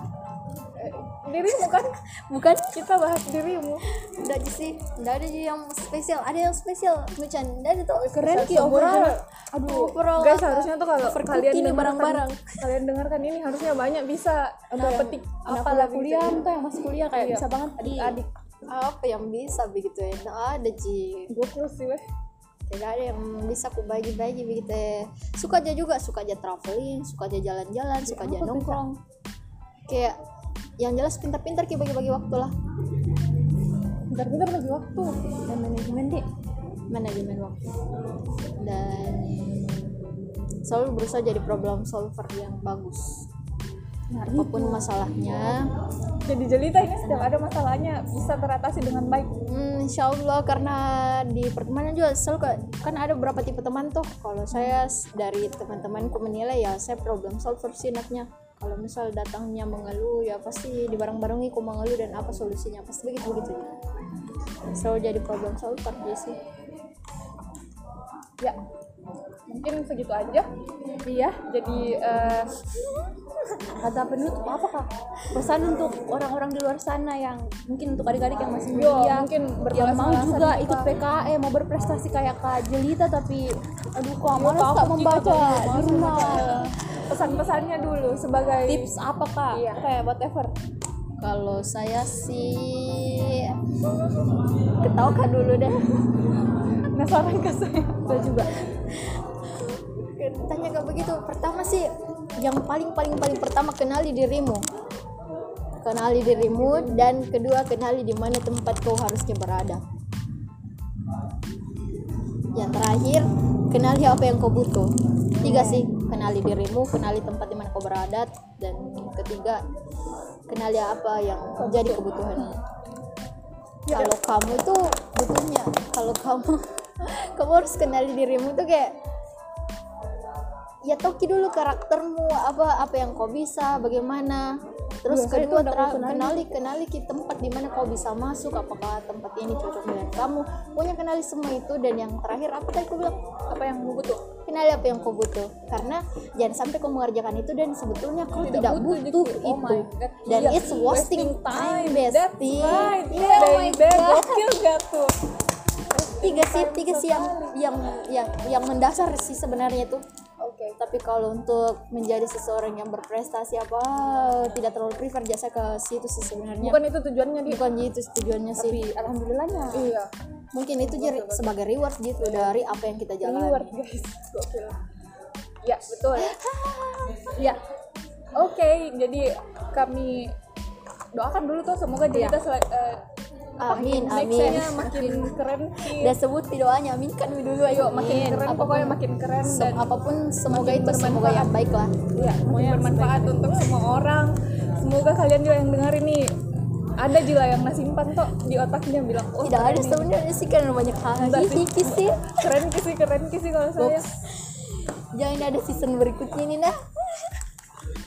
S2: Dirimu kan
S3: bukan
S2: Kita bahas dirimu
S3: udah aja sih udah ada aja yang spesial ada yang spesial Nucan dari tuh
S2: Keren Ki overall Aduh
S3: Overall
S2: Guys
S3: apa?
S2: harusnya tuh kalau
S3: Overcooked
S2: kalian
S3: ini
S2: dengarkan-
S3: barang-barang.
S2: Kalian dengarkan ini harusnya banyak bisa
S1: anak
S2: Petik
S1: anak
S2: apa
S1: kuliah,
S2: lagi
S1: kuliah
S2: gitu.
S1: tuh yang masih kuliah kayak
S2: Iya.
S1: bisa banget di
S2: Adik-adik
S3: apa yang bisa begitu ya nggak ada ji
S2: Gokil sih weh
S3: tidak ada yang bisa aku bagi-bagi begitu ya suka aja juga suka aja traveling suka aja jalan-jalan suka aja nongkrong kayak yang jelas pintar-pintar kayak bagi-bagi waktu lah
S2: Bentar-bentar lagi waktu
S1: dan manajemen deh
S3: manajemen waktu dan selalu berusaha jadi problem solver yang bagus apapun masalahnya
S2: Jadi jelita ini setiap ada masalahnya Bisa teratasi dengan baik
S3: Hmm, insya Allah karena di pertemanan juga selalu ke- kan ada beberapa tipe teman tuh kalau saya s- dari teman-temanku menilai ya saya problem solver sih enaknya kalau misal datangnya mengeluh ya pasti dibareng-barengi ku mengeluh dan apa solusinya pasti begitu begitu selalu jadi problem solver dia sih
S2: Ya Mungkin segitu aja Iya Jadi eh,
S1: kata penutup apa kak pesan untuk orang-orang di luar sana yang mungkin untuk adik-adik yang masih
S2: Yo,
S1: kuliah
S2: mungkin
S1: yang
S2: berkelas
S1: mau juga ikut PKE mau berprestasi kayak kak Jelita tapi aduh kok malas
S2: Kak
S1: kak
S2: Fuki,
S1: membaca
S2: Kak Fuki,
S1: di
S2: malas
S1: rumah
S2: membaca. E. pesan-pesannya dulu sebagai
S1: tips apa kak
S2: iya. apa ya whatever
S3: kalau saya sih ketawakan dulu deh
S2: nah saran ke saya
S1: Saya juga
S3: tanya kayak begitu pertama sih yang paling paling paling pertama kenali dirimu kenali dirimu dan kedua kenali di mana tempat kau harusnya berada yang terakhir kenali apa yang kau butuh tiga sih kenali dirimu kenali tempat di mana kau berada dan ketiga kenali apa yang jadi kebutuhan kalau kamu tuh butuhnya kalau kamu kamu harus kenali dirimu tuh kayak ya toki dulu karaktermu apa apa yang kau bisa bagaimana terus
S1: Biasanya
S3: kedua
S1: tuh udah
S3: tera-
S1: aku kenali.
S3: kenali kenali ke tempat di mana kau bisa masuk apakah tempat ini cocok dengan kamu punya kenali semua itu dan yang terakhir apa tadi aku bilang
S2: apa yang gue butuh
S3: kenali apa yang kau butuh karena jangan sampai kau mengerjakan itu dan sebetulnya kau tidak, butuh,
S2: jadi-
S3: itu
S2: oh my God,
S3: dan
S2: iya.
S3: it's wasting, time,
S2: that's
S3: bestie
S2: right
S3: Yeah, oh my
S2: baby
S3: God
S2: gokil gak tuh
S3: tiga sih tiga sih yang yang yang yang mendasar sih sebenarnya itu oke tapi kalau untuk menjadi seseorang yang berprestasi apa tidak terlalu prefer jasa ke situ sih sebenarnya
S2: bukan itu tujuannya di
S3: bukan itu tujuannya sih
S2: tapi alhamdulillahnya iya
S3: mungkin itu jadi sebagai reward gitu dari apa yang kita
S2: reward
S3: jalani
S2: guys gokil ya betul ya oke jadi kami doakan dulu tuh semoga jadi kita sel- eh,
S3: Ya.
S2: apa,
S3: Amin,
S2: next-nya
S3: amin.
S2: makin keren sih
S3: dan sebut doanya aminkan dulu
S2: Ayo,
S3: ayo
S2: makin keren pokoknya makin keren dan
S3: apapun semoga itu semoga yang baik lah
S2: ya, pokoknya bermanfaat untuk semua orang. Semoga kalian juga yang dengar ini ada juga yang nasimpan tok di otaknya bilang, "Oh,
S3: tidak ada
S2: keren nih.
S3: sebenarnya sih karena banyak hal
S2: Enggak sih.
S3: hihi sih
S2: Keren kisi, keren kisi kalau saya.
S3: jangan ada season berikutnya nih nah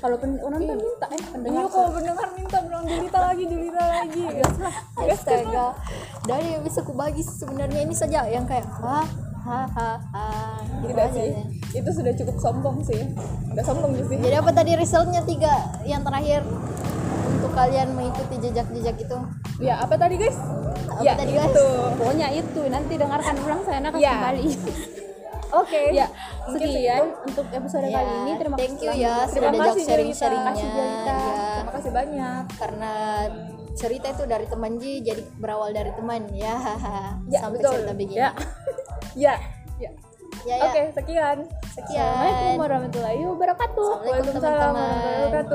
S1: kalau pen- penonton minta eh pendengar
S2: Iya, kalau mendengar minta bilang dilita lagi, dilita lagi.
S3: Iya. Astaga. Dari yang bisa aku bagi sebenarnya ini saja yang kayak ha ha ha ha. Gitu
S2: Tidak
S3: aja
S2: sih.
S3: ya.
S2: Itu sudah cukup sombong sih. Udah sombong sih.
S3: Jadi apa tadi resultnya tiga yang terakhir untuk kalian mengikuti jejak-jejak itu.
S2: Ya, apa tadi, guys?
S3: Apa
S2: ya,
S3: tadi, guys?
S2: itu.
S1: pokoknya itu nanti dengarkan ulang saya akan
S2: Iya.
S1: kembali
S2: Oke.
S1: ya
S2: Mungkin
S1: sekian untuk episode
S3: Ya,
S1: kali ini terima kasih
S3: thank you
S1: telah
S3: ya
S1: mengikuti.
S2: Terima
S3: sudah ajak
S2: kasih
S3: sharing-sharingnya.
S2: Jelita.
S3: Ya.
S2: Terima kasih banyak.
S3: karena cerita itu dari teman Ji jadi berawal dari teman ya,
S2: Ya,
S3: sampai
S2: betul.
S3: cerita begini
S2: Ya. ya. Ya.
S3: ya, ya.
S2: Oke, sekian.
S3: sekian
S1: Assalamualaikum warahmatullahi wabarakatuh
S3: Ya, Assalamualaikum,
S2: Waalaikumsalam warahmatullahi
S3: teman-teman.
S2: wabarakatuh.